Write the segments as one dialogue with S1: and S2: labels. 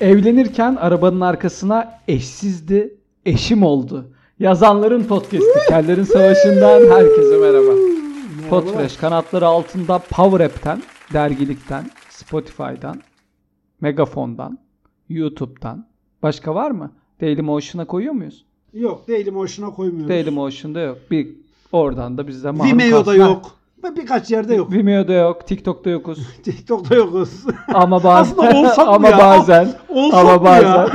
S1: Evlenirken arabanın arkasına eşsizdi, eşim oldu. Yazanların podcast'i. Kellerin Savaşı'ndan herkese merhaba. Podfresh kanatları altında Power App'ten, dergilikten, Spotify'dan, Megafon'dan, YouTube'dan. Başka var mı? Dailymotion'a koyuyor muyuz?
S2: Yok Dailymotion'a koymuyoruz.
S1: Dailymotion'da yok. Bir oradan da bizde malum
S2: Vimeo'da
S1: kasma.
S2: yok. Birkaç yerde yok.
S1: Vimeo'da yok, TikTok'ta yokuz.
S2: TikTok'ta yokuz.
S1: Ama bazen
S2: Aslında olsak mı
S1: ama
S2: ya?
S1: bazen
S2: Olsak
S1: ama
S2: mı ya?
S1: bazen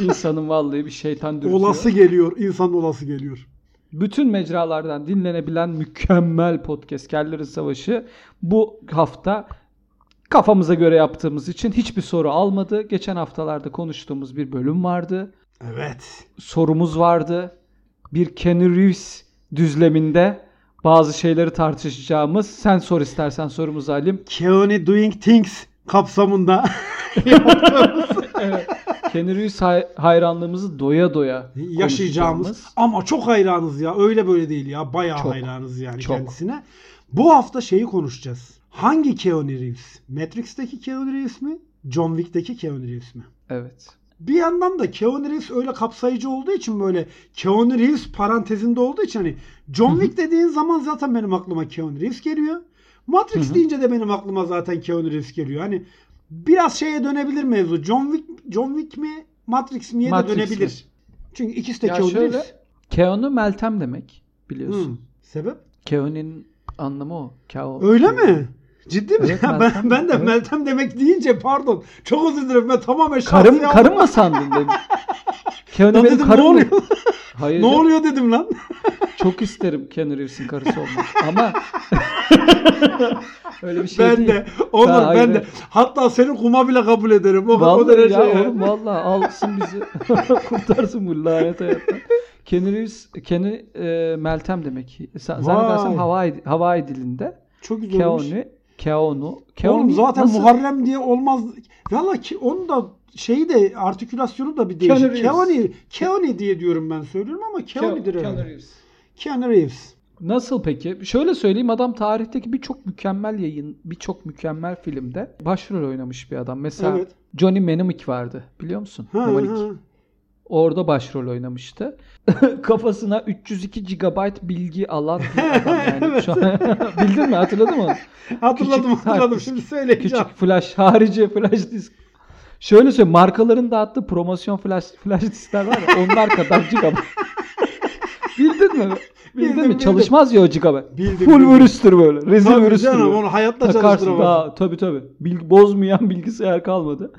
S1: insanın vallahi bir şeytan dürtüyor.
S2: olası geliyor. İnsan olası geliyor.
S1: Bütün mecralardan dinlenebilen mükemmel podcast Kellerin Savaşı bu hafta kafamıza göre yaptığımız için hiçbir soru almadı. Geçen haftalarda konuştuğumuz bir bölüm vardı.
S2: Evet.
S1: Sorumuz vardı. Bir Kenny Reeves düzleminde bazı şeyleri tartışacağımız. Sen sor istersen sorumuzu alayım.
S2: Keone Doing Things kapsamında.
S1: Evet. Keanu Reeves hay- hayranlığımızı doya doya
S2: yaşayacağımız
S1: konuşacağımız.
S2: ama çok hayranız ya öyle böyle değil ya bayağı
S1: Çok,
S2: hayranız yani
S1: çok.
S2: kendisine. Bu hafta şeyi konuşacağız. Hangi Keanu Reeves? Matrix'teki Keanu Reeves mi? John Wick'teki Keanu Reeves mi?
S1: Evet.
S2: Bir yandan da Keanu Reeves öyle kapsayıcı olduğu için böyle Keanu Reeves parantezinde olduğu için hani John Wick dediğin zaman zaten benim aklıma Keanu Reeves geliyor. Matrix deyince de benim aklıma zaten Keanu Reeves geliyor. Hani biraz şeye dönebilir mevzu. John Wick John Wick mi Matrix miye
S1: Matrix
S2: de dönebilir. Çünkü ikisi de
S1: Ya
S2: Keanu
S1: şöyle,
S2: Reeves.
S1: Keanu Meltem demek biliyorsun.
S2: Hmm. Sebep?
S1: Keo'nun anlamı o. Keo.
S2: Öyle mi? Ciddi mi?
S1: Evet,
S2: Ya
S1: Meltem.
S2: ben, ben de
S1: Evet.
S2: Meltem demek deyince pardon. Çok özür dilerim ben tamamen şahsi
S1: Karım,
S2: aldım.
S1: karım mı sandın dedim. Keanu
S2: Lan
S1: benim
S2: dedim,
S1: karım mı?
S2: ne oluyor?
S1: Hayır.
S2: ne oluyor dedim lan.
S1: Çok isterim Keanu Reeves'in karısı olmak. Ama öyle bir şey
S2: ben
S1: değil.
S2: de. Onlar
S1: Ha,
S2: ben de.
S1: hayır.
S2: Hatta senin kuma bile kabul ederim. O, o
S1: Vallahi
S2: derece. e,
S1: ya oğlum vallahi alsın bizi. Kurtarsın bu lanet hayattan. Keanu Reeves, Keanu e, Meltem demek. Sen, zannedersem
S2: Vay.
S1: Hawaii, Hawaii dilinde.
S2: Çok güzel olmuş.
S1: Keanu, Keanu, Keanu
S2: Oğlum zaten
S1: nasıl-
S2: Muharrem diye olmaz. Valla ki onun da şeyi de artikülasyonu da bir
S1: Keanu
S2: değişik.
S1: Reeves.
S2: Keoni, Keoni diye diyorum ben söylüyorum ama Keoni'dir
S1: Keanu
S2: herhalde.
S1: Reeves.
S2: Keanu Reeves.
S1: Nasıl peki? Şöyle söyleyeyim adam tarihteki birçok mükemmel yayın, birçok mükemmel filmde başrol oynamış bir adam. Mesela
S2: Evet.
S1: Johnny Mnemonic vardı biliyor musun?
S2: Ha,
S1: Mnemonic.
S2: ha.
S1: Orada başrol oynamıştı. Kafasına 302 GB bilgi alan bir adam yani.
S2: Evet.
S1: Şu an- Bildin mi? Hatırladın mı?
S2: Hatırladım
S1: Küçük
S2: hatırladım
S1: harf.
S2: şimdi söyleyeceğim.
S1: Küçük flash, harici flash disk. Şöyle söyleyeyim. Markaların dağıttığı promosyon flash, flash diskler var ya. Onlar kadar GB. Bildin mi? Bildin
S2: Bildim,
S1: mi?
S2: bildim.
S1: Çalışmaz ya o GB.
S2: Bildim,
S1: Full
S2: bildim.
S1: virüstür böyle. Rezil
S2: Tabii
S1: virüstür.
S2: canım
S1: böyle.
S2: onu hayatta
S1: Takarsın
S2: çalıştıramazsın.
S1: daha tabii tabii. Bilgi, bozmayan bilgisayar kalmadı.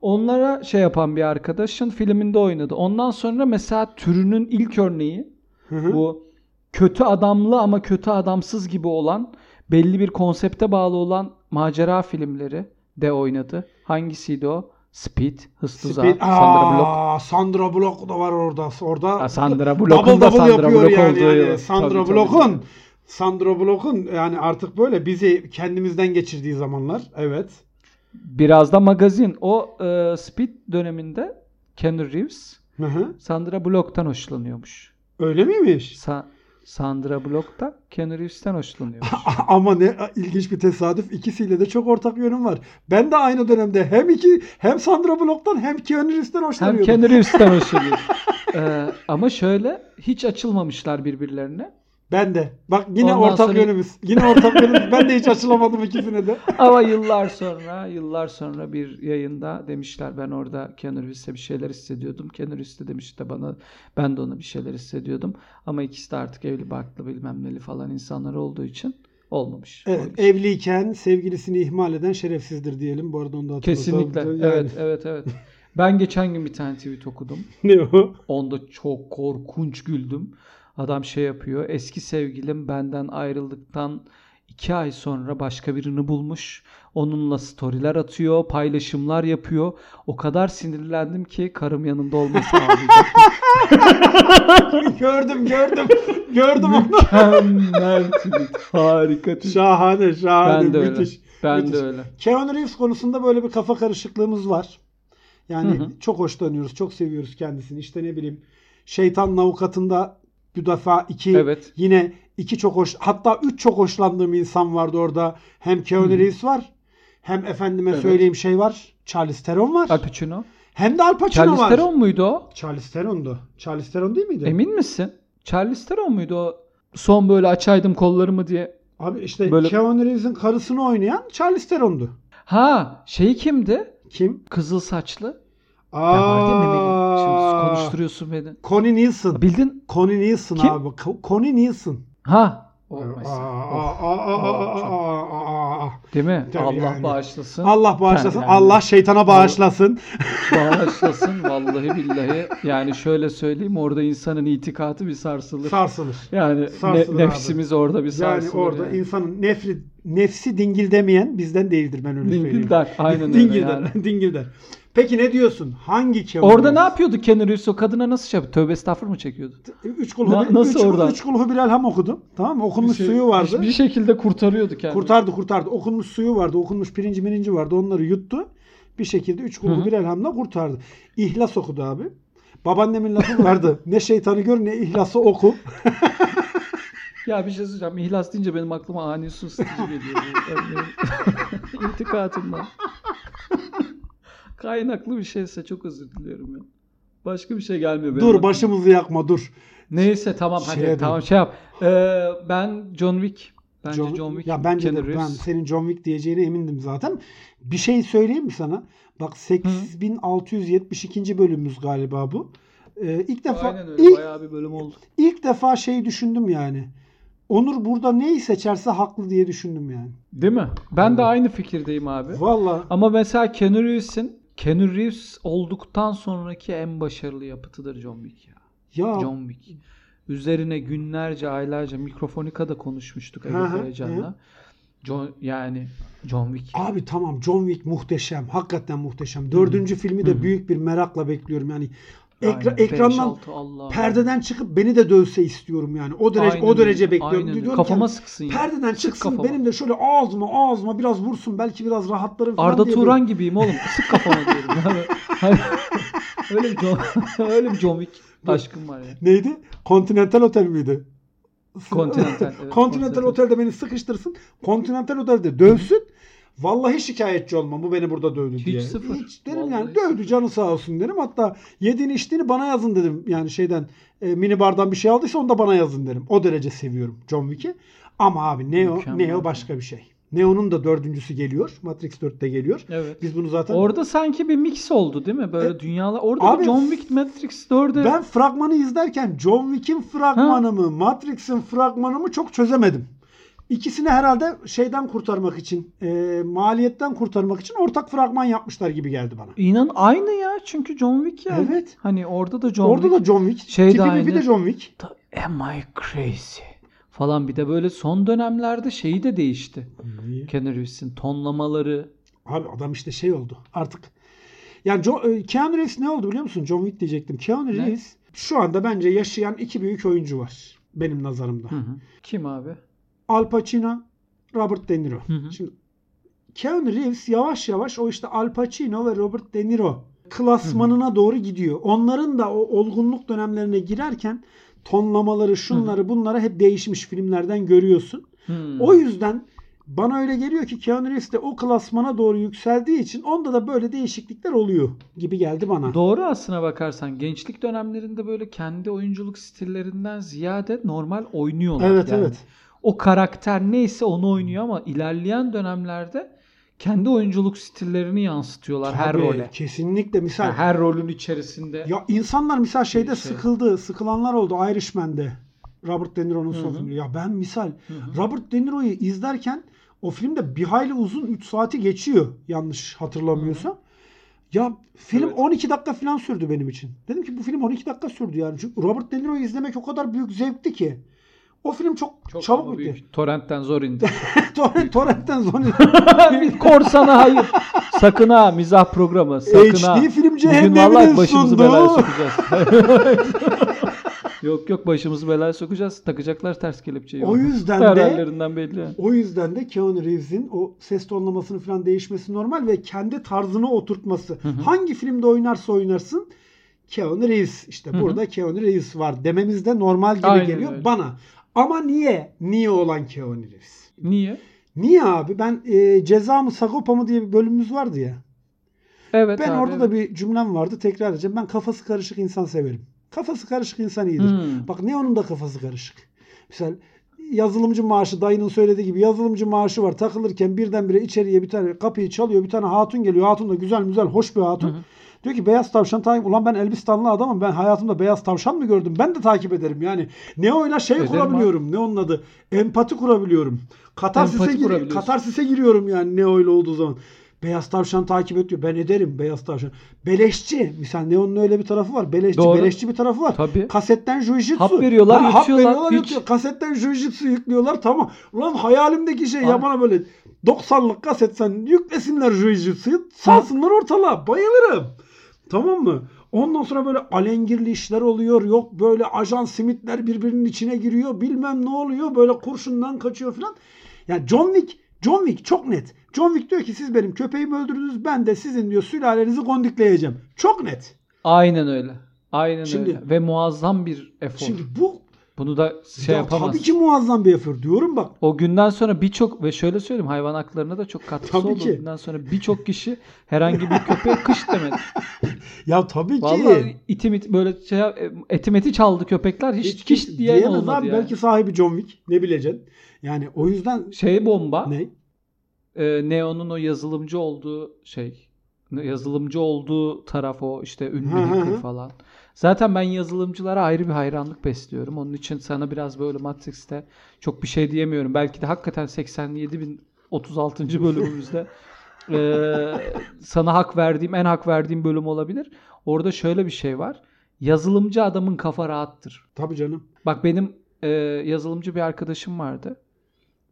S1: Onlara şey yapan bir arkadaşın filminde oynadı. Ondan sonra mesela türünün ilk örneği
S2: Hı hı.
S1: bu kötü adamlı ama kötü adamsız gibi olan belli bir konsepte bağlı olan macera filmleri de oynadı. Hangisiydi o? Speed, Hız Tuzağı,
S2: Speed-
S1: Sandra Block.
S2: Aa, Sandra Block da var orada. Orada
S1: Ha, Sandra
S2: double
S1: Block'un da
S2: double
S1: Sandra
S2: yapıyor
S1: Block
S2: yani.
S1: olduğu
S2: yani
S1: yıl.
S2: Sandra
S1: Tabii, tabii.
S2: Block'un Sandra Block'un yani artık böyle bizi kendimizden geçirdiği zamanlar. Evet.
S1: Biraz da magazin. O e, Speed döneminde Keanu Reeves
S2: Hı hı.
S1: Sandra Block'tan hoşlanıyormuş.
S2: Öyle miymiş?
S1: Sa- Sandra Block'ta Keanu Reeves'ten hoşlanıyormuş.
S2: Ama ne ilginç bir tesadüf. İkisiyle de çok ortak yönüm var. Ben de aynı dönemde hem iki hem Sandra Block'tan hem Keanu Reeves'ten
S1: Hem
S2: hoşlanıyordum.
S1: Keanu Reeves'ten hoşlanıyor. Ee, ama şöyle hiç açılmamışlar birbirlerine.
S2: Ben de. Bak yine
S1: Ondan
S2: ortak
S1: sonra-
S2: yönümüz. Yine ortak yönümüz. Ben de hiç açılamadım ikisine de.
S1: Ama yıllar sonra, yıllar sonra bir yayında demişler ben orada Keanu Reeves'e bir şeyler hissediyordum. Keanu Reeves de demiş de bana ben de ona bir şeyler hissediyordum. Ama ikisi de artık evli barklı bilmem neli falan insanlar olduğu için olmamış.
S2: Evet,
S1: Olmuş.
S2: evliyken sevgilisini ihmal eden şerefsizdir diyelim. Bu arada onu da hatırlatalım.
S1: Kesinlikle.
S2: Yani
S1: Evet, evet, evet. Ben geçen gün bir tane tweet okudum.
S2: Ne o?
S1: Onda çok korkunç güldüm. Adam şey yapıyor. Eski sevgilim benden ayrıldıktan iki ay sonra başka birini bulmuş. Onunla storyler atıyor, paylaşımlar yapıyor. O kadar sinirlendim ki karım yanımda olmasa ağlayacaktım.
S2: gördüm gördüm. gördüm onu.
S1: Mükemmel tweet. Harika tweet.
S2: Şahane şahane.
S1: Ben de öyle.
S2: müthiş.
S1: Ben
S2: müthiş.
S1: de öyle.
S2: Keanu Reeves konusunda böyle bir kafa karışıklığımız var. Yani
S1: Hı hı.
S2: çok hoşlanıyoruz, çok seviyoruz kendisini. İşte ne bileyim Şeytanın Avukatı'nda bir defa iki
S1: Evet.
S2: yine iki çok hoş hatta üç çok hoşlandığım insan vardı orada. Hem Keanu
S1: Hı.
S2: Reeves var Hem efendime
S1: Evet.
S2: söyleyeyim şey var. Charles Theron var.
S1: Al Pacino.
S2: hem de Al Pacino
S1: Charlize
S2: var.
S1: Theron muydu o?
S2: Charles Theron'du. Charles Theron değil miydi?
S1: Emin misin? Charlize Theron muydu o? Son böyle açaydım kollarımı diye.
S2: Abi işte
S1: Böyle-
S2: Keanu Reeves'in karısını oynayan Charles Theron'du.
S1: Ha şeyi kimdi?
S2: Kim?
S1: Kızıl saçlı.
S2: Aa,
S1: Ya vardı ya memeli. Şimdi konuşturuyorsun beni.
S2: Connie Nielsen.
S1: Bildin?
S2: Connie Nielsen
S1: Kim?
S2: abi. Ko- Connie Nielsen.
S1: Ha.
S2: Aa,
S1: Oh,
S2: aa,
S1: mesela.
S2: aa,
S1: Of.
S2: aa, aa,
S1: Çok-
S2: aa, aa.
S1: Değil mi?
S2: Tabii
S1: Allah
S2: yani.
S1: bağışlasın.
S2: Allah bağışlasın.
S1: Yani-
S2: Allah şeytana bağışlasın.
S1: bağışlasın vallahi billahi. Yani şöyle söyleyeyim orada insanın itikadı bir sarsılır.
S2: Sarsılır.
S1: yani ne-
S2: sarsılır abi.
S1: nefsimiz orada bir sarsılır.
S2: Yani orada insanın nefri nefsi dingil demeyen bizden değildir ben öyle söyleyeyim.
S1: Dingil der. Aynen öyle
S2: dingil der.
S1: yani.
S2: dingil der. Peki ne diyorsun? Hangi Keanu
S1: Orada ne
S2: Reeves?
S1: yapıyordu Keanu Reeves? O kadına nasıl şey yapıyor? Tövbe estağfurullah mı çekiyordu?
S2: Üç kul
S1: Na-
S2: hubi,
S1: nasıl
S2: üç, kul-
S1: orada?
S2: üç kul hubil elham okudum. Tamam mı? Okunmuş
S1: Bir şey-
S2: suyu vardı.
S1: Bir şekilde kurtarıyordu kendini.
S2: Kurtardı kurtardı. Okunmuş suyu vardı. Okunmuş pirinci mirinci vardı. Onları yuttu. Bir şekilde üç
S1: Hı
S2: kullu
S1: hı.
S2: bir elhamla kurtardı. İhlas okudu abi. Babaannemin lafı vardı. ne şeytanı gör ne ihlası oku.
S1: Ya bir şey söyleyeceğim. İhlas deyince benim aklıma ani su ısıtıcı geliyor. e, Örneğin. İtikadımdan. Kaynaklı bir şeyse çok özür diliyorum ya. Başka bir şey gelmiyor. benim
S2: dur
S1: aklıma.
S2: başımızı yakma dur.
S1: Neyse tamam hadi
S2: Şeye dön.
S1: tamam şey yap. Ee, ben John Wick. Bence John,
S2: John-
S1: Wick.
S2: Ya bence de
S1: Keanu
S2: ben
S1: Reeves.
S2: senin John Wick diyeceğine emindim zaten. Bir şey söyleyeyim mi sana? Bak 8672. bölümümüz galiba bu. Ee, ilk defa
S1: Aynen öyle.
S2: ilk,
S1: Bayağı bir bölüm oldu.
S2: ilk defa şey düşündüm yani. Onur burada neyi seçerse haklı diye düşündüm yani.
S1: Değil mi? Ben de aynı fikirdeyim abi.
S2: Vallahi
S1: Ama mesela Keanu Reeves'in Keanu Reeves olduktan sonraki en başarılı yapıtıdır John Wick ya.
S2: ya
S1: John Wick. Üzerine günlerce, aylarca mikrofonikada konuşmuştuk
S2: Hı
S1: Ege
S2: hı,
S1: Karacan'la. John, yani John Wick.
S2: Abi tamam John Wick muhteşem. Hakikaten muhteşem. Dördüncü filmi de
S1: Hı hı.
S2: büyük bir merakla bekliyorum. Yani ekra-
S1: Aynen. Beş,
S2: ekrandan
S1: altı, Allah.
S2: perdeden çıkıp beni de dövse istiyorum yani. O derece
S1: Aynen
S2: o derece
S1: öyle,
S2: bekliyorum.
S1: aynen öyle.
S2: Diyorum ki,
S1: Kafama sıksın ya.
S2: Perdeden
S1: Sık
S2: çıksın
S1: kafama.
S2: benim de şöyle ağzıma ağzıma biraz vursun belki biraz rahatlarım falan
S1: Arda
S2: diye
S1: Turan gibiyim oğlum. Sık kafana diyorum. Yani, hani- öyle bir John, öyle bir John Wick aşkım var ya.
S2: bir- Neydi? Continental Otel miydi?
S1: Continental, evet,
S2: Continental
S1: Continental.
S2: Otel'de beni sıkıştırsın. Continental Otel'de dövsün. Vallahi şikayetçi olmam. Bu beni burada dövdü
S1: Hiç
S2: diye.
S1: sıfır.
S2: Hiç derim
S1: Vallahi
S2: yani
S1: hiç
S2: dövdü
S1: sıfır.
S2: canı sağ olsun derim. Hatta yediğini içtiğini bana yazın dedim. Yani şeyden e, mini bardan bir şey aldıysa onu da bana yazın derim. O derece seviyorum John Wick'i. Ama abi Neo,
S1: Mükemmel.
S2: Neo başka bir şey. Neo'nun da dördüncüsü geliyor. Matrix 4'te geliyor.
S1: Evet.
S2: Biz bunu zaten
S1: Orada sanki bir mix oldu değil mi? Böyle
S2: E,
S1: dünyalar. Orada
S2: abi,
S1: bir John Wick Matrix 4'e
S2: Ben fragmanı izlerken John Wick'in fragmanı mı, Matrix'in fragmanı mı çok çözemedim. İkisini herhalde şeyden kurtarmak için, e, maliyetten kurtarmak için ortak fragman yapmışlar gibi geldi bana.
S1: inan aynı ya çünkü John Wick yani.
S2: Evet.
S1: Hani orada da John
S2: Orada
S1: Wick.
S2: da John Wick.
S1: Şey de
S2: tipi
S1: aynı.
S2: bir de John Wick.
S1: da Am I crazy? Falan bir de böyle son dönemlerde şeyi de değişti. Keanu Reeves'in tonlamaları.
S2: Abi adam işte şey oldu artık. Yani Jo- e, Keanu Reeves ne oldu biliyor musun? John Wick diyecektim. Keanu
S1: Ne?
S2: Reeves şu anda bence yaşayan iki büyük oyuncu var benim nazarımda.
S1: Hı hı. Kim abi?
S2: Al Pacino, Robert De Niro.
S1: Hı hı.
S2: Şimdi Keanu Reeves yavaş yavaş o işte Al Pacino ve Robert De Niro klasmanına doğru gidiyor. Onların da o olgunluk dönemlerine girerken tonlamaları, şunları, bunları hep değişmiş filmlerden görüyorsun.
S1: Hmm.
S2: O yüzden bana öyle geliyor ki Keanu Reeves de o klasmana doğru yükseldiği için onda da böyle değişiklikler oluyor gibi geldi bana.
S1: Doğru aslına bakarsan gençlik dönemlerinde böyle kendi oyunculuk stillerinden ziyade normal oynuyorlar.
S2: evet
S1: Yani
S2: evet.
S1: O karakter neyse onu oynuyor ama ilerleyen dönemlerde kendi oyunculuk stillerini yansıtıyorlar her
S2: Tabii,
S1: role.
S2: Kesinlikle misal.
S1: Yani her rolün içerisinde.
S2: Ya insanlar misal şeyde
S1: şey.
S2: sıkıldı. Sıkılanlar oldu Irishman'de. Robert De Niro'nun son
S1: hı.
S2: filmi. Ya ben misal
S1: Hı hı.
S2: Robert De Niro'yu izlerken o filmde bir hayli uzun 3 saati geçiyor. Yanlış hatırlamıyorsam. Ya film
S1: Evet.
S2: 12 dakika falan sürdü benim için. Dedim ki bu film 12 dakika sürdü yani. Çünkü Robert De Niro'yu izlemek o kadar büyük zevkti ki. O film çok,
S1: Çok ama
S2: çabuk bitti.
S1: büyük. şey. Torrent'ten zor indi.
S2: Torrent, torrentten sonra
S1: Bir Korsana hayır. Sakın ha mizah programı. Sakın ha.
S2: HD film
S1: Bugün vallahi
S2: cehenneminin
S1: başımızı belaya
S2: sunduğu.
S1: sokacağız. yok yok başımızı belaya sokacağız. Takacaklar ters kelepçeyi.
S2: O yüzden de-
S1: Haberlerinden belli.
S2: O yüzden de Keanu Reeves'in o ses tonlamasının falan değişmesi normal ve kendi tarzını oturtması.
S1: hı.
S2: Hangi filmde oynarsa oynarsın Keanu Reeves işte
S1: hı.
S2: burada Keanu Reeves var dememiz de normal gibi
S1: Aynen
S2: geliyor
S1: öyle.
S2: bana. Ama niye? Niye olan Keanu Reeves?
S1: Niye?
S2: Niye abi? Ben e, ceza mı sagopa mı diye bir bölümümüz vardı ya.
S1: Evet
S2: ben
S1: abi,
S2: orada
S1: evet.
S2: da bir cümlem vardı. Tekrar edeceğim. Ben kafası karışık insan severim. Kafası karışık insan iyidir.
S1: Hmm.
S2: Bak ne onun da kafası karışık. Mesela yazılımcı maaşı dayının söylediği gibi yazılımcı maaşı var. Takılırken birdenbire içeriye bir tane kapıyı çalıyor. Bir tane hatun geliyor. Hatun da güzel güzel hoş bir hatun. Diyor ki beyaz tavşan takip. Ulan ben Elbistanlı adamım. Ben hayatımda beyaz tavşan mı gördüm? Ben de takip ederim yani. Ne oyla şey
S1: Ederim
S2: kurabiliyorum. Ne onun adı? Empati kurabiliyorum. Katarsis'e,
S1: Empati
S2: gir-
S1: kurabiliyorsun.
S2: katarsis'e giriyorum yani ne oyla olduğu zaman. Beyaz tavşan takip ediyor. Ben ederim beyaz tavşan. Beleşçi. Mesela Neon'un öyle bir tarafı var. Beleşçi.
S1: Doğru.
S2: Beleşçi bir tarafı var.
S1: Tabii.
S2: Kasetten jujitsu.
S1: Hap veriyorlar,
S2: Ha, hap
S1: yutuyorlar,
S2: veriyorlar,
S1: hiç.
S2: yutuyor. Kasetten jujitsu yüklüyorlar. Tamam. Ulan hayalimdeki şey ya
S1: Abi.
S2: bana böyle 90'lık kaset sen yüklesinler jujitsu'yu. Salsınlar ortalığa. Bayılırım. Tamam mı? Ondan sonra böyle alengirli işler oluyor. Yok böyle ajan simitler birbirinin içine giriyor. Bilmem ne oluyor. Böyle kurşundan kaçıyor falan. Yani John Wick John Wick çok net. John Wick diyor ki siz benim köpeğimi öldürdünüz. Ben de sizin diyor sülalenizi gondikleyeceğim. Çok net.
S1: Aynen öyle. Aynen
S2: Şimdi-
S1: öyle. Ve muazzam bir efor.
S2: Şimdi bu
S1: Bunu da şey
S2: ya
S1: yapamaz.
S2: Tabii ki muazzam bir efor diyorum bak.
S1: O günden sonra birçok ve şöyle söyleyeyim hayvan haklarına da çok katkısı
S2: Tabii
S1: oldu.
S2: ki.
S1: Bundan sonra birçok kişi herhangi bir köpeğe kış demedi.
S2: Ya tabii ki.
S1: Vallahi itim it, böyle şey, etim eti çaldı köpekler hiç,
S2: Hiç
S1: kiş
S2: kimse
S1: diyen
S2: diyemez
S1: olmadı
S2: abi.
S1: yani.
S2: Belki sahibi John Wick. Ne bileceksin? Yani o yüzden
S1: Şey bomba.
S2: ne?
S1: e, Neo'nun o yazılımcı olduğu şey ne- yazılımcı olduğu taraf o işte ünlü
S2: Hı hı
S1: hacker
S2: hı.
S1: falan. Zaten ben yazılımcılara ayrı bir hayranlık besliyorum. Onun için sana biraz böyle Matrix'te çok bir şey diyemiyorum. Belki de hakikaten 87.036. bölümümüzde e, sana hak verdiğim, en hak verdiğim bölüm olabilir. Orada şöyle bir şey var. Yazılımcı adamın kafa rahattır.
S2: Tabii canım.
S1: Bak benim e, yazılımcı bir arkadaşım vardı.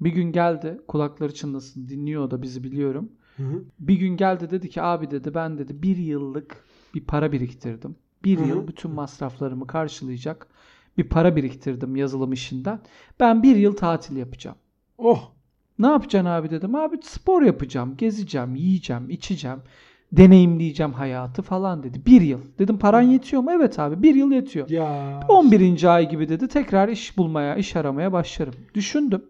S1: Bir gün geldi kulakları çınlasın dinliyor da bizi biliyorum.
S2: Hı-hı.
S1: Bir gün geldi dedi ki abi dedi ben dedi bir yıllık bir para biriktirdim. Bir
S2: Hı hı.
S1: yıl bütün masraflarımı karşılayacak bir para biriktirdim yazılım işinden. Ben bir yıl tatil yapacağım.
S2: Oh.
S1: Ne yapacaksın abi dedim. Abi spor yapacağım, gezeceğim, yiyeceğim, içeceğim, deneyimleyeceğim hayatı falan dedi. Bir yıl. Dedim paran yetiyor mu? Evet abi bir yıl yetiyor.
S2: Ya.
S1: 11. ay gibi dedi tekrar iş bulmaya, iş aramaya başlarım. Düşündüm.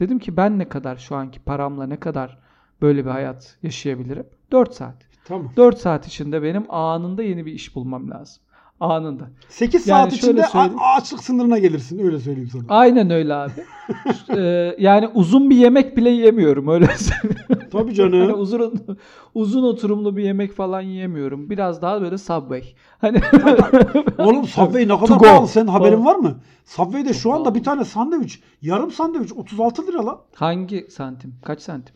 S1: Dedim ki ben ne kadar şu anki paramla ne kadar böyle bir hayat yaşayabilirim? 4 saat.
S2: Tamam.
S1: 4 saat içinde benim anında yeni bir iş bulmam lazım. Anında.
S2: 8
S1: Yani
S2: saat
S1: şöyle
S2: içinde a-
S1: söyleyeyim.
S2: açlık sınırına gelirsin. Öyle söyleyeyim sana.
S1: Aynen öyle abi. Ee, yani uzun bir yemek bile yiyemiyorum öyle söyleyeyim.
S2: Tabii
S1: Hani
S2: canım.
S1: uzun, uzun oturumlu bir yemek falan yiyemiyorum. Biraz daha böyle Subway. Hani
S2: Oğlum Subway ne
S1: To
S2: kadar
S1: go.
S2: pahalı. Senin haberin
S1: Pahalı.
S2: var mı? Subway'de şu anda
S1: pahalı.
S2: bir tane sandviç, yarım sandviç 36 lira lan.
S1: hangi santim? Kaç santim?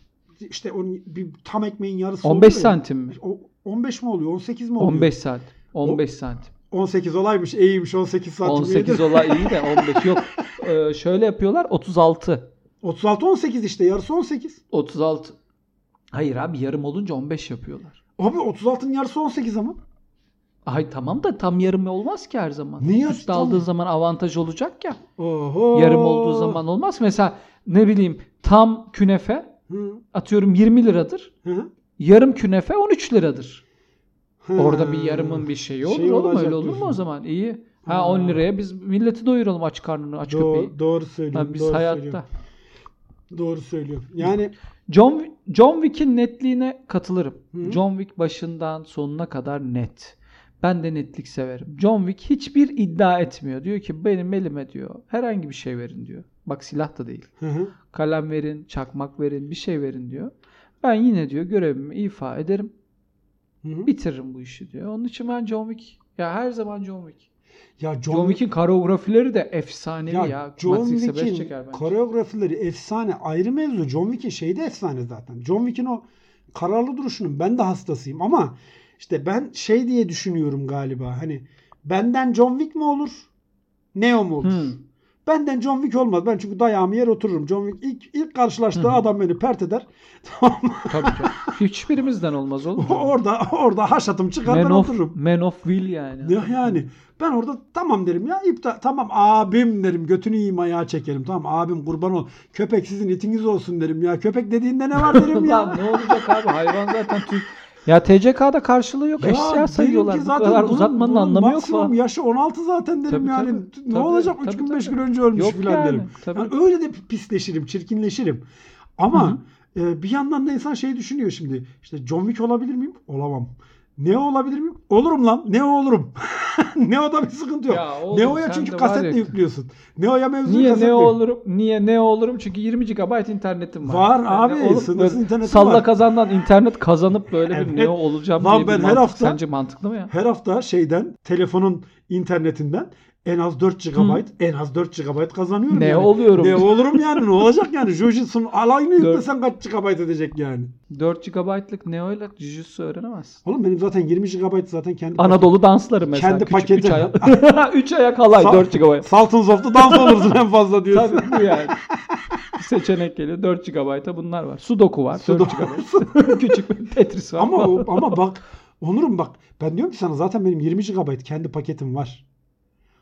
S2: İşte onun bir tam ekmeğin yarısı
S1: 15
S2: oluyor ya.
S1: santim mi?
S2: O 15 mi oluyor? 18 mi oluyor?
S1: 15 saat. 15 santim.
S2: 18 olaymış. iyiymiş 18 santim.
S1: 18
S2: iyidir.
S1: olay iyi de 15 yok. Ee, şöyle yapıyorlar 36.
S2: 36 18 işte yarısı 18.
S1: 36. Hayır abi yarım olunca 15 yapıyorlar.
S2: Abi 36'nın yarısı 18 ama.
S1: Ay tamam da tam yarım olmaz ki her zaman.
S2: Niye
S1: Üst
S2: tam-
S1: aldığı zaman avantaj olacak ya.
S2: Oho.
S1: Yarım olduğu zaman olmaz. Mesela ne bileyim tam künefe
S2: Hı,
S1: atıyorum 20 liradır.
S2: hı,
S1: Yarım künefe 13 liradır.
S2: hı.
S1: Orada bir yarımın bir şeyi olur
S2: Ee, Şey
S1: oğlum
S2: olacak
S1: öyle olur mu o
S2: diyorsun.
S1: zaman? İyi.
S2: Ha.
S1: Ha 10 liraya biz milleti doyuralım aç karnını aç köpeği.
S2: Doğru, doğru
S1: Ha,
S2: söylüyorsun.
S1: biz
S2: doğru
S1: hayatta.
S2: söylüyorsun. Doğru söylüyorsun. Yani
S1: John John Wick'in netliğine katılırım.
S2: Hı.
S1: John Wick başından sonuna kadar net. Ben de netlik severim. John Wick hiçbir iddia etmiyor. Diyor ki benim elime diyor herhangi bir şey verin diyor. Bak silah da değil.
S2: hı hı.
S1: Kalem verin, çakmak verin, bir şey verin diyor. Ben yine diyor görevimi ifa ederim.
S2: Hı hı.
S1: Bitiririm bu işi diyor. Onun için ben John Wick. Ya her zaman John Wick.
S2: ya John,
S1: John, Wick'in koreografileri de efsanevi ya.
S2: ya John
S1: Matrix'e beş
S2: Wick'in
S1: çeker bence.
S2: koreografileri efsane ayrı mevzu. John Wick'in şeyi de efsane zaten. John Wick'in o kararlı duruşunun ben de hastasıyım ama işte ben şey diye düşünüyorum galiba. Hani benden John Wick mi olur? Neo mu olur?
S1: Hı.
S2: Benden John Wick olmaz. Ben çünkü dayağımı yer otururum. John Wick ilk, ilk karşılaştığı
S1: Hı hı.
S2: adam beni pert eder. Tamam mı?
S1: Tabii ki. Hiçbirimizden olmaz oğlum.
S2: orada orada haşatım çıkar ben
S1: Man of,
S2: otururum.
S1: Man of Will yani.
S2: Ya yani ben orada tamam derim ya iptal tamam abim derim götünü yiyeyim ayağa çekerim tamam abim kurban ol köpek sizin itiniz olsun derim ya köpek dediğinde ne var derim ya.
S1: Lan ne olacak abi hayvan zaten Türk. Ya TCK'da karşılığı yok.
S2: Ya derim
S1: Eşya
S2: ki
S1: sayıyorlar. Bu
S2: zaten
S1: kadar
S2: bunun-
S1: uzatmanın
S2: bunun
S1: anlamı yok
S2: maksimum
S1: falan.
S2: yaşı 16 zaten derim
S1: Tabii,
S2: yani.
S1: tabii.
S2: ne
S1: Tabii,
S2: olacak 3
S1: tabii,
S2: gün 5
S1: tabii.
S2: gün önce ölmüş
S1: Yok
S2: filan
S1: yani,
S2: derim.
S1: tabii.
S2: Yani öyle de pisleşirim, çirkinleşirim. Ama e, bir yandan da insan şey düşünüyor şimdi. İşte John Wick olabilir miyim? Olamam. Neo olabilir miyim? Olurum lan. Neo olurum. Neo'da bir sıkıntı yok.
S1: Ya oğlum,
S2: Neo'ya
S1: sen
S2: çünkü
S1: de var
S2: kasetle
S1: ya-
S2: yüklüyorsun. Neo'ya mevzuyu
S1: Niye
S2: kasetle
S1: ne
S2: yük-
S1: olurum? Niye ne olurum? Çünkü 20 GB internetim var.
S2: Var
S1: Yani
S2: abi,
S1: olup
S2: sınırsız
S1: böyle
S2: internetim
S1: Salla
S2: var.
S1: kazandan internet kazanıp böyle
S2: Evet.
S1: bir ne olacağım
S2: Lan
S1: diye bir
S2: ben her
S1: mantık
S2: hafta-
S1: sence mantıklı mı ya?
S2: Her hafta şeyden telefonun internetinden en az 4 GB en az 4 GB kazanıyorum.
S1: Ne
S2: yani.
S1: oluyorum?
S2: Ne olurum yani ne olacak yani Jujutsu'nun alayını
S1: Dört-
S2: yüklesen kaç GB edecek yani.
S1: 4 GB'lık Neo ile Jujutsu öğrenemezsin.
S2: Oğlum benim zaten 20 GB zaten kendi
S1: Anadolu dansları mesela.
S2: Kendi
S1: Küçük
S2: paketi-
S1: Üç ayak, üç ayak alay
S2: Sa-
S1: 4 GB.
S2: Sultans of the Dance olursun en fazla diyorsun.
S1: Tabii bu yani. Bir Seçenek geliyor. 4 GB'a bunlar var. Sudoku var.
S2: Sudoku.
S1: 4 GB. Küçük bir Tetris var.
S2: Ama
S1: falan.
S2: o- ama bak Onur'um bak ben diyorum ki sana zaten benim 20 GB kendi paketim var.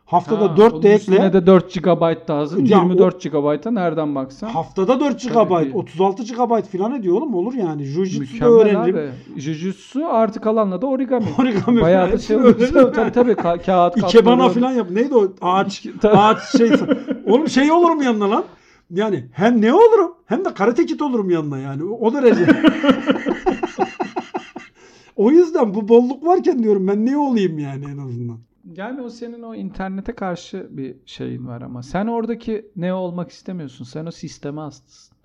S2: Haftada
S1: Ha,
S2: 4
S1: onun
S2: de
S1: üstüne
S2: ekle.
S1: de 4 GB lazım.
S2: Ya o-
S1: 24 GB'a nereden baksan.
S2: Haftada 4
S1: Tabii
S2: GB,
S1: ki.
S2: 36 GB falan ediyor oğlum olur yani. Jujutsu da
S1: Mükemmel
S2: öğrenirim.
S1: abi. Jujutsu artı kalanla da origami.
S2: Origami
S1: Bayağı da
S2: falan
S1: şey
S2: öğrenirim.
S1: olmuş. tabii tabii ka- kağıt
S2: İkebana
S1: katları-
S2: falan yap. Neydi o ağaç?
S1: İke- tabii.
S2: ağaç şey. Oğlum şey olurum yanına lan. Yani hem ne olurum hem de karate kit olurum yanına yani. O o derece. o yüzden bu bolluk varken diyorum ben ne olayım yani en azından.
S1: Yani o senin o internete karşı bir şeyin var ama. Sen oradaki ne olmak istemiyorsun. Sen o sisteme hastasın.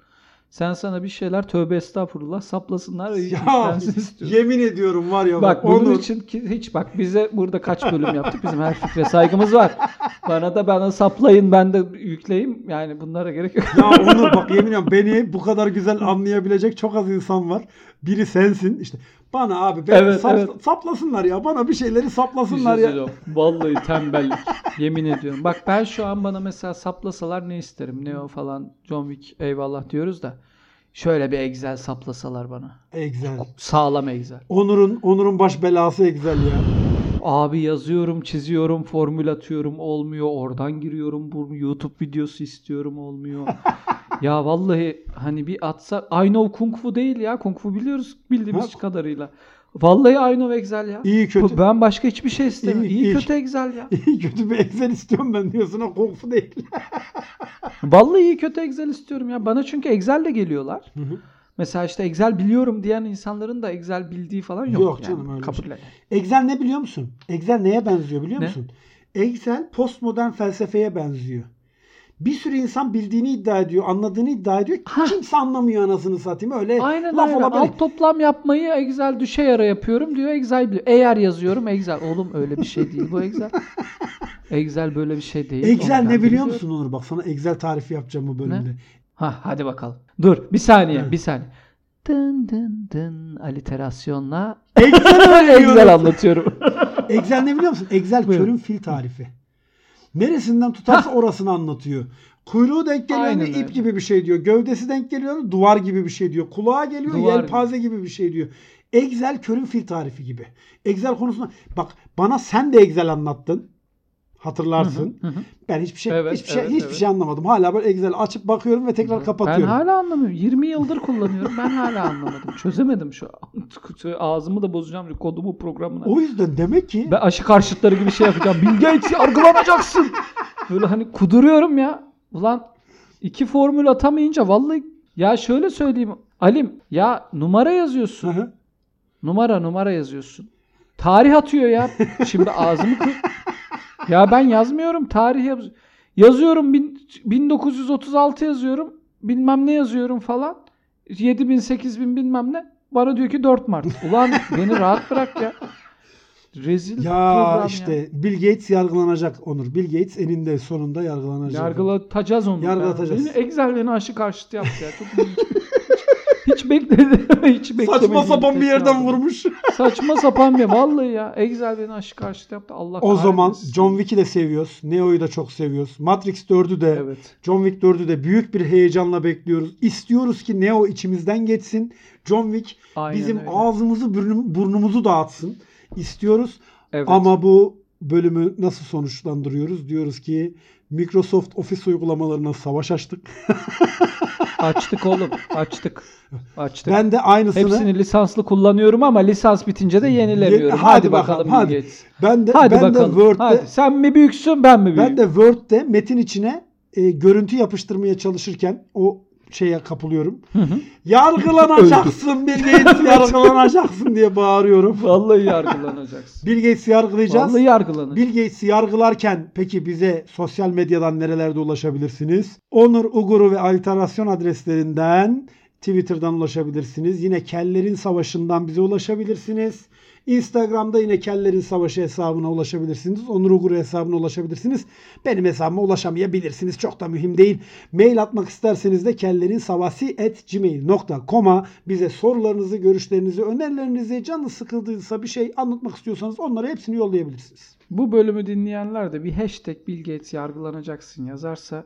S1: Sen sana bir şeyler tövbe estağfurullah saplasınlar ve
S2: Ya
S1: yüklensin istiyorsun.
S2: yemin ediyorum var ya
S1: Bak bunun
S2: Onur-
S1: için ki hiç bak bize burada kaç bölüm yaptık bizim her fikre saygımız var. Bana da bana saplayın ben de yükleyeyim yani bunlara gerek yok.
S2: Ya Onur bak yemin ediyorum beni bu kadar güzel anlayabilecek çok az insan var. Biri sensin işte. Bana abi beni
S1: Evet,
S2: sap-
S1: evet.
S2: saplasınlar ya. Bana bir şeyleri saplasınlar ya.
S1: Üzücü o. Vallahi tembellik. Yemin ediyorum. Bak ben şu an bana mesela saplasalar ne isterim? Neo falan, John Wick eyvallah diyoruz da. Şöyle bir Excel saplasalar bana.
S2: Excel.
S1: Sağlam Excel.
S2: Onur'un Onur'un baş belası Excel ya.
S1: Abi yazıyorum, çiziyorum, formül atıyorum olmuyor. Oradan giriyorum. Bu YouTube videosu istiyorum olmuyor. ya vallahi hani bir atsa I know Kung Fu değil ya. Kung Fu biliyoruz bildiğimiz
S2: Ha.
S1: kadarıyla. Vallahi I know Excel ya.
S2: İyi kötü.
S1: Ben başka hiçbir şey istemiyorum.
S2: İyi,
S1: İyi,
S2: iyi.
S1: kötü Excel ya.
S2: İyi kötü bir Excel istiyorum ben diyorsun o kung fu değil.
S1: Vallahi iyi kötü Excel istiyorum ya. Bana çünkü Excel'le geliyorlar.
S2: Hı hı.
S1: Mesela işte Excel biliyorum diyen insanların da Excel bildiği falan yok.
S2: Yok
S1: yani.
S2: canım, öyle bir
S1: Kabul
S2: şey.
S1: et.
S2: Excel ne biliyor musun? Excel neye benziyor biliyor
S1: Ne?
S2: musun? Excel postmodern felsefeye benziyor. Bir sürü insan bildiğini iddia ediyor, anladığını iddia ediyor. Kimse anlamıyor anasını satayım. Öyle
S1: Aynen
S2: laf
S1: öyle.
S2: olabilir.
S1: Alt toplam yapmayı Excel düşe yara yapıyorum diyor Excel biliyor. Eğer yazıyorum Excel. Oğlum öyle bir şey değil bu Excel. Excel böyle bir şey değil.
S2: Excel
S1: Onu ben
S2: ne biliyor
S1: biliyorum.
S2: musun Onur? Bak sana Excel tarifi yapacağım bu bölümde.
S1: Ha hadi bakalım. Dur bir saniye
S2: Evet.
S1: bir saniye. Dın dın dın aliterasyonla
S2: Excel
S1: Excel
S2: öğreniyorum.
S1: anlatıyorum.
S2: Excel ne biliyor musun? Excel
S1: Buyurun.
S2: körün fil tarifi. Neresinden tutarsa orasını anlatıyor. Kuyruğu denk geliyor
S1: Aynen
S2: mu
S1: öyle.
S2: ip gibi bir şey diyor. Gövdesi denk geliyor mu duvar gibi bir şey diyor. Kulağa geliyor
S1: Duvar
S2: yelpaze gibi bir şey diyor. Excel körün fil tarifi gibi. Excel konusunda bak bana sen de Excel anlattın. Hatırlarsın.
S1: Hı hı.
S2: Ben hiçbir şey
S1: Evet,
S2: hiçbir şey
S1: evet,
S2: hiçbir
S1: evet.
S2: şey anlamadım. Hala böyle Excel açıp bakıyorum ve tekrar kapatıyorum.
S1: Ben hala anlamıyorum. 20 yıldır kullanıyorum. Ben hala anlamadım. Çözemedim şu an. Ağzımı da bozacağım şu kodumu programına.
S2: O yüzden demek ki
S1: Ben aşı karşıtları gibi şey yapacağım. Bill Gates yargılanacaksın. Böyle hani kuduruyorum ya. Ulan iki formül atamayınca vallahi ya şöyle söyleyeyim. Alim ya numara
S2: Hı
S1: yazıyorsun.
S2: hı.
S1: Numara numara yazıyorsun. Tarih atıyor ya. Şimdi ağzımı kır. Ya ben yazmıyorum. Tarih yaz- yazıyorum. bin- 1936 yazıyorum. Bilmem ne yazıyorum falan. 7000 8000 bilmem ne. Bana diyor ki 4 Mart. Ulan beni rahat bırak ya. Rezil program
S2: ya
S1: ya.
S2: işte Bill Gates yargılanacak Onur. Bill Gates eninde sonunda yargılanacak.
S1: Yargılatacağız onu.
S2: Yargılatacağız.
S1: Beni Excel beni aşı karşıtı yaptı ya. Çok üzücü. hiç, hiç bekledim. Hiç
S2: Saçma
S1: beklemediğim
S2: sapan bir
S1: tepki
S2: yerden
S1: aldım.
S2: vurmuş.
S1: Saçma sapan bir vallahi ya. Excel beni aşı karşıtı yaptı. Allah
S2: O zaman
S1: kahretmesin.
S2: John Wick'i de seviyoruz. Neo'yu da çok seviyoruz. Matrix 4'ü de
S1: Evet.
S2: John Wick 4'ü de büyük bir heyecanla bekliyoruz. İstiyoruz ki Neo içimizden geçsin. John Wick
S1: Aynen
S2: bizim
S1: öyle.
S2: ağzımızı burnum- burnumuzu dağıtsın. İstiyoruz.
S1: Evet.
S2: Ama bu bölümü nasıl sonuçlandırıyoruz? Diyoruz ki Microsoft Office uygulamalarına savaş açtık.
S1: Açtık oğlum. Açtık. Açtık.
S2: Ben de aynısını
S1: Hepsini lisanslı kullanıyorum ama lisans bitince de yenilemiyorum.
S2: Ye-
S1: hadi,
S2: hadi bakalım,
S1: bakalım.
S2: hadi.
S1: Bill Gates.
S2: ben de
S1: Hadi
S2: ben
S1: bakalım.
S2: de Word'de
S1: hadi. Sen mi büyüksün ben mi büyüğüm?
S2: Ben de Word'de metin içine e, görüntü yapıştırmaya çalışırken o şeye kapılıyorum.
S1: Hı hı.
S2: Yargılanacaksın Bill Gates yargılanacaksın diye bağırıyorum.
S1: Vallahi yargılanacaksın.
S2: Bill Gates'i yargılayacağız.
S1: Vallahi yargılanacaksın.
S2: Bill Gates'i yargılarken peki bize sosyal medyadan nerelerde ulaşabilirsiniz? Onur Uguru ve Alterasyon adreslerinden Twitter'dan ulaşabilirsiniz. Yine Kellerin Savaşı'ndan bize ulaşabilirsiniz. Instagram'da yine Kellerin Savaşı hesabına ulaşabilirsiniz. Onur Ugur hesabına ulaşabilirsiniz. Benim hesabıma ulaşamayabilirsiniz. Çok da mühim değil. Mail atmak isterseniz de kellerinsavasi.gmail.com'a bize sorularınızı, görüşlerinizi, önerilerinizi, canınız sıkıldıysa bir şey anlatmak istiyorsanız onları hepsini yollayabilirsiniz.
S1: Bu bölümü dinleyenler de bir hashtag Bill Gates yargılanacaksın yazarsa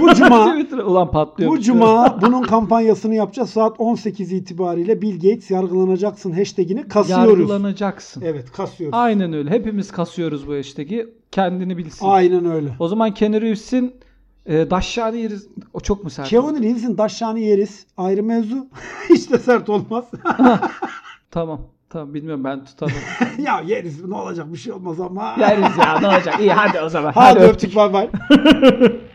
S2: Bu cuma
S1: Twitter'a ulan patlıyor. şey.
S2: Bu cuma bunun kampanyasını yapacağız. Saat 18 itibariyle Bill Gates yargılanacaksın hashtagini kasıyoruz.
S1: yargılanacaksın.
S2: Evet kasıyoruz.
S1: Aynen öyle. Hepimiz kasıyoruz bu hashtag'i. Kendini bilsin.
S2: Aynen öyle.
S1: O zaman Keanu Reeves'in e, Daşşani yeriz. O çok mu sert? oldu?
S2: Keanu Reeves'in daşşanı yeriz. Ayrı mevzu. Hiç de sert olmaz.
S1: Tamam. Tamam bilmiyorum ben tutamam.
S2: ya yeriz ne olacak bir şey olmaz ama.
S1: Yeriz ya ne olacak. İyi hadi o zaman.
S2: Hadi öptük bay bay.